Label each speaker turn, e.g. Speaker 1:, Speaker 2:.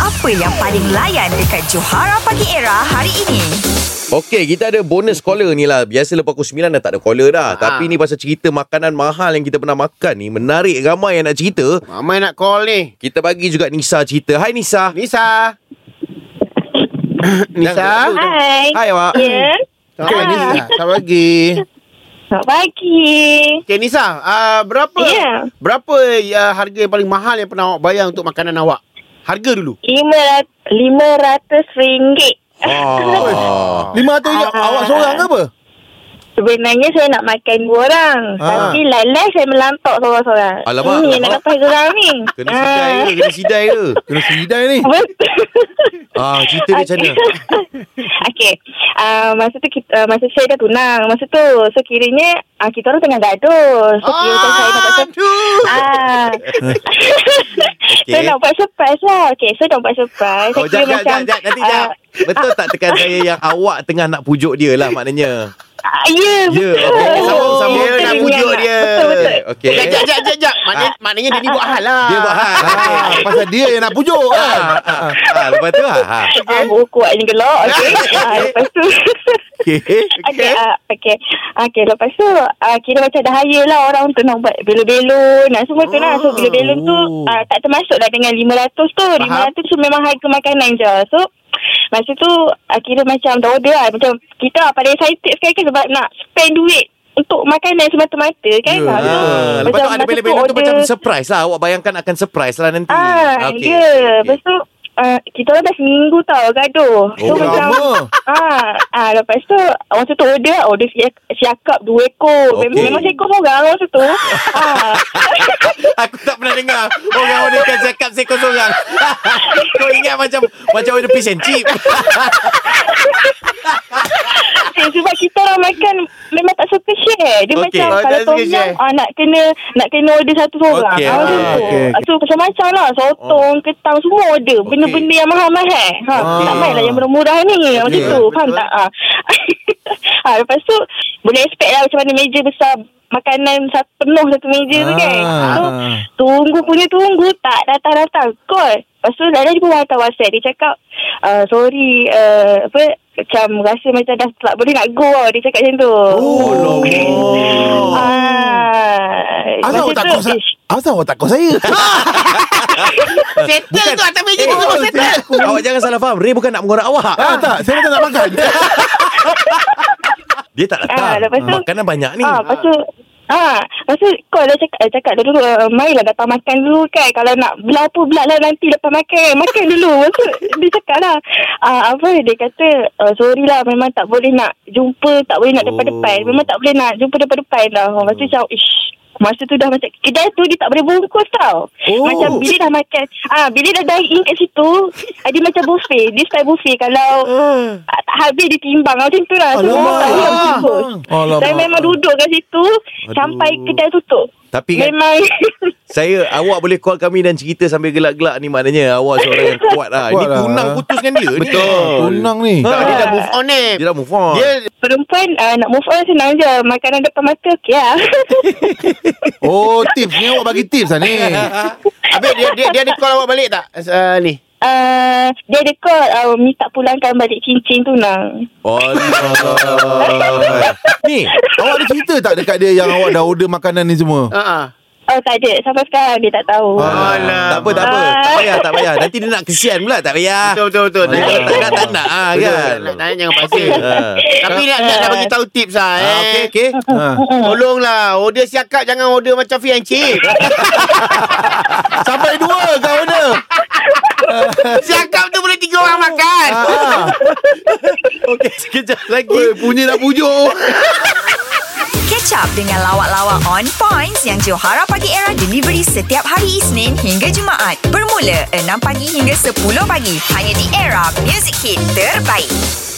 Speaker 1: Apa yang paling layan dekat Johara Pagi Era hari ini?
Speaker 2: Okey, kita ada bonus caller ni lah. Biasa lepas pukul 9 dah tak ada caller dah.
Speaker 3: Ha.
Speaker 2: Tapi ni pasal cerita makanan mahal yang kita pernah makan ni. Menarik ramai yang nak cerita.
Speaker 3: Ramai nak call ni.
Speaker 2: Kita bagi juga Nisa cerita. Hai Nisa.
Speaker 3: Nisa.
Speaker 2: Jangan-
Speaker 3: Nisa.
Speaker 4: Hai.
Speaker 2: Hai awak.
Speaker 4: Ya.
Speaker 3: Selamat pagi,
Speaker 4: Hai.
Speaker 3: Nisa. Selamat pagi.
Speaker 4: Selamat pagi.
Speaker 3: Okay, Nisa. Uh, berapa
Speaker 4: Ya.
Speaker 3: berapa uh, harga yang paling mahal yang pernah awak bayar untuk makanan awak? Harga dulu.
Speaker 4: Lima ratus ringgit.
Speaker 2: Ah.
Speaker 3: RM500
Speaker 4: je. Awak seorang ke
Speaker 3: apa?
Speaker 4: Sebenarnya saya nak makan dua orang.
Speaker 3: Ah.
Speaker 4: Tapi lalai saya melantok seorang-seorang.
Speaker 2: Alamak,
Speaker 4: Ini yang nak
Speaker 2: alamak.
Speaker 4: lepas orang ni. Ah.
Speaker 2: Kena sidai ke? Kena sidai ke?
Speaker 3: Kena sidai ni.
Speaker 4: Betul.
Speaker 2: Ah, cerita dia macam mana?
Speaker 4: okay. Uh, masa tu kita, uh, masa saya dah tunang masa tu. So kiranya uh, kita orang tengah gaduh. So kira macam saya nak buat surprise.
Speaker 3: Aduh.
Speaker 4: Ah.
Speaker 2: Okey.
Speaker 4: So nak buat surprise lah. Okay, so nak buat surprise.
Speaker 2: Oh,
Speaker 4: Saya
Speaker 2: jap,
Speaker 4: kira
Speaker 2: jap, jap, jap, nanti jap.
Speaker 4: ah,
Speaker 2: Betul tak tekan saya yang awak tengah nak pujuk dia lah maknanya?
Speaker 4: Ah, Ya,
Speaker 2: Ya,
Speaker 4: betul.
Speaker 2: okey, sambung,
Speaker 3: Oh,
Speaker 2: sambung.
Speaker 3: dia
Speaker 4: Betul
Speaker 3: nak
Speaker 4: dia
Speaker 3: pujuk
Speaker 4: ingat.
Speaker 3: dia.
Speaker 4: Betul, betul.
Speaker 2: Okey.
Speaker 3: Jap, jap, jap, jap, jap. Maknanya, maknanya dia ni buat hal lah.
Speaker 2: Dia buat hal.
Speaker 5: Ah, pasal dia yang nak pujuk
Speaker 2: Ah,
Speaker 5: kan.
Speaker 2: ah, ah, ah, lepas tu, ah, ah.
Speaker 4: Ah, buku kuat ni gelok. Okay. ah, lepas tu.
Speaker 2: Okay.
Speaker 4: Okay, ah, okay. Okay, lepas tu ah, kira macam dah hire lah orang tu nak buat belon-belon nak semua tu lah.
Speaker 2: Oh.
Speaker 4: So, belon-belon tu ah, tak termasuk lah dengan RM500 tu. RM500 tu memang harga makanan je. So, masa tu ah, kira macam dah order lah. Macam kita lah paling excited sekali kan sebab nak spend duit untuk makanan semata-mata kan.
Speaker 5: Ya,
Speaker 4: Ah, so,
Speaker 2: Ah, lepas tu
Speaker 4: macam
Speaker 2: ada
Speaker 4: masa
Speaker 2: belon-belon tu
Speaker 4: order-
Speaker 2: macam surprise lah. Awak bayangkan akan surprise lah nanti.
Speaker 4: Ah,
Speaker 2: Okey,
Speaker 4: okay. ya.
Speaker 2: okey,
Speaker 4: Lepas tu Uh, kita orang dah seminggu tau gaduh.
Speaker 2: Oh,
Speaker 5: lama.
Speaker 4: ah, ah, lepas tu waktu tu order order siak, siakap dua ekor. Okay.
Speaker 2: Okey.
Speaker 4: Memang seekor seorang waktu tu. ah.
Speaker 2: okey. Aku tak pernah dengar orang orderkan cakap seekor seorang. Kau ingat macam macam order fish and chip.
Speaker 4: Ah, Eh, sebab kita orang makan memang tak suka share. Dia
Speaker 2: Okey.
Speaker 4: macam
Speaker 3: Oh,
Speaker 4: kalau
Speaker 3: tak suka
Speaker 4: tom yum
Speaker 3: share.
Speaker 4: ah, nak kena nak kena order satu seorang.
Speaker 2: Okey,
Speaker 4: Ah,
Speaker 2: ah,
Speaker 4: macam tu.
Speaker 5: okey, okey.
Speaker 4: So macam-macam lah sotong, ketang semua order. Benda-benda yang mahal-mahal. Ha,
Speaker 2: Okey.
Speaker 4: Tak main lah yang murah-murah ni. Macam
Speaker 2: Okey,
Speaker 4: tu. Faham
Speaker 3: betul.
Speaker 4: tak? Ah. ah, lepas tu boleh expect lah macam mana meja besar makanan satu, penuh satu meja tu kan.
Speaker 5: Ah.
Speaker 4: So tunggu punya tunggu tak datang-datang. Call. Lepas tu Lala dia pun hantar WhatsApp. Dia cakap uh, sorry uh, apa macam rasa macam dah tak boleh nak go tau. Dia cakap macam tu.
Speaker 5: Oh,
Speaker 2: lama.
Speaker 4: Ah,
Speaker 5: Asal awak tak kos
Speaker 4: ish,
Speaker 5: Asal awak tak kos saya?
Speaker 3: Settle tu atas
Speaker 4: ya,
Speaker 2: Eh,
Speaker 3: meja ni semua settle.
Speaker 2: Awak jangan salah faham. Ray bukan nak mengorak awak.
Speaker 5: ah, tak, saya macam nak makan.
Speaker 2: Dia tak
Speaker 4: Ah,
Speaker 2: datang.
Speaker 4: lepas tu-
Speaker 2: Makanan banyak ni.
Speaker 4: Ah, lepas tu Ah, lepas tu kau dah cakap, eh, cakap dulu uh, marilah datang makan dulu kan. Kalau nak belah apa belah lah nanti lepas makan. Makan dulu. Lepas tu dia cakap lah. Ah, apa dia kata uh, sorry lah memang tak boleh nak jumpa. Tak boleh nak depan-depan. Memang tak boleh nak jumpa depan-depan lah. Lepas tu macam ish. Masa tu dah macam kedai tu dia tak boleh bungkus tau.
Speaker 2: Oh.
Speaker 4: Oh. Macam bila dah makan. Ah, bila dah dine in kat situ. ah, dia macam buffet. Dia style buffet. Kalau ah, tak habis dia timbang. Macam tu lah. So,
Speaker 5: Alamak.
Speaker 4: tak boleh nak bungkus.
Speaker 5: Alamak.
Speaker 4: Saya memang duduk kat situ Aduh. sampai kedai tutup.
Speaker 2: Tapi kan
Speaker 4: Memang
Speaker 2: Saya Awak boleh call kami Dan cerita sambil gelak-gelak ni Maknanya awak seorang yang kuat lah Ini
Speaker 5: Kuat lah.
Speaker 2: tunang putus dengan dia ni.
Speaker 5: Tunang ni.
Speaker 2: Ha.
Speaker 3: Dia dah move on ni.
Speaker 2: Dia dah move on Ah.
Speaker 3: Dia
Speaker 4: perempuan uh, nak move on senang je. Makanan depan mata okey lah.
Speaker 5: Oh, tips ni awak bagi tips lah ni.
Speaker 2: Ah.
Speaker 3: Habis dia dia dia ada call awak balik tak? Uh, ni.
Speaker 4: uh, dia ada call uh, minta pulangkan balik cincin tunang.
Speaker 2: Allah Ni
Speaker 5: awak ada cerita tak dekat dia yang awak dah order makanan ni semua?
Speaker 3: Ha ah.
Speaker 4: Oh tak ada. Sampai sekarang dia tak tahu.
Speaker 3: Ah.
Speaker 2: Tak apa tak apa Tak payah tak payah Nanti dia nak kesian pula Tak payah
Speaker 3: Betul betul betul.
Speaker 2: Dia kalau tak nak tak nak ah, kan
Speaker 3: Nak tanya jangan pasal.
Speaker 2: Ah.
Speaker 3: Tapi nak nak, nak bagi tahu tips lah eh.
Speaker 2: Ah, Okey okey
Speaker 5: Ha.
Speaker 3: Tolonglah Order siakap Jangan order macam fish and chip
Speaker 5: Sampai dua kau order.
Speaker 3: Siakap tu boleh tiga orang makan
Speaker 5: Ah.
Speaker 2: Okey sekejap lagi
Speaker 5: Oi, punya nak pujuk.
Speaker 1: Catch up dengan lawak-lawak on points yang Johara Pagi Era delivery setiap hari Isnin hingga Jumaat. Bermula 6 pagi hingga 10 pagi. Hanya di Era Music Hit Terbaik.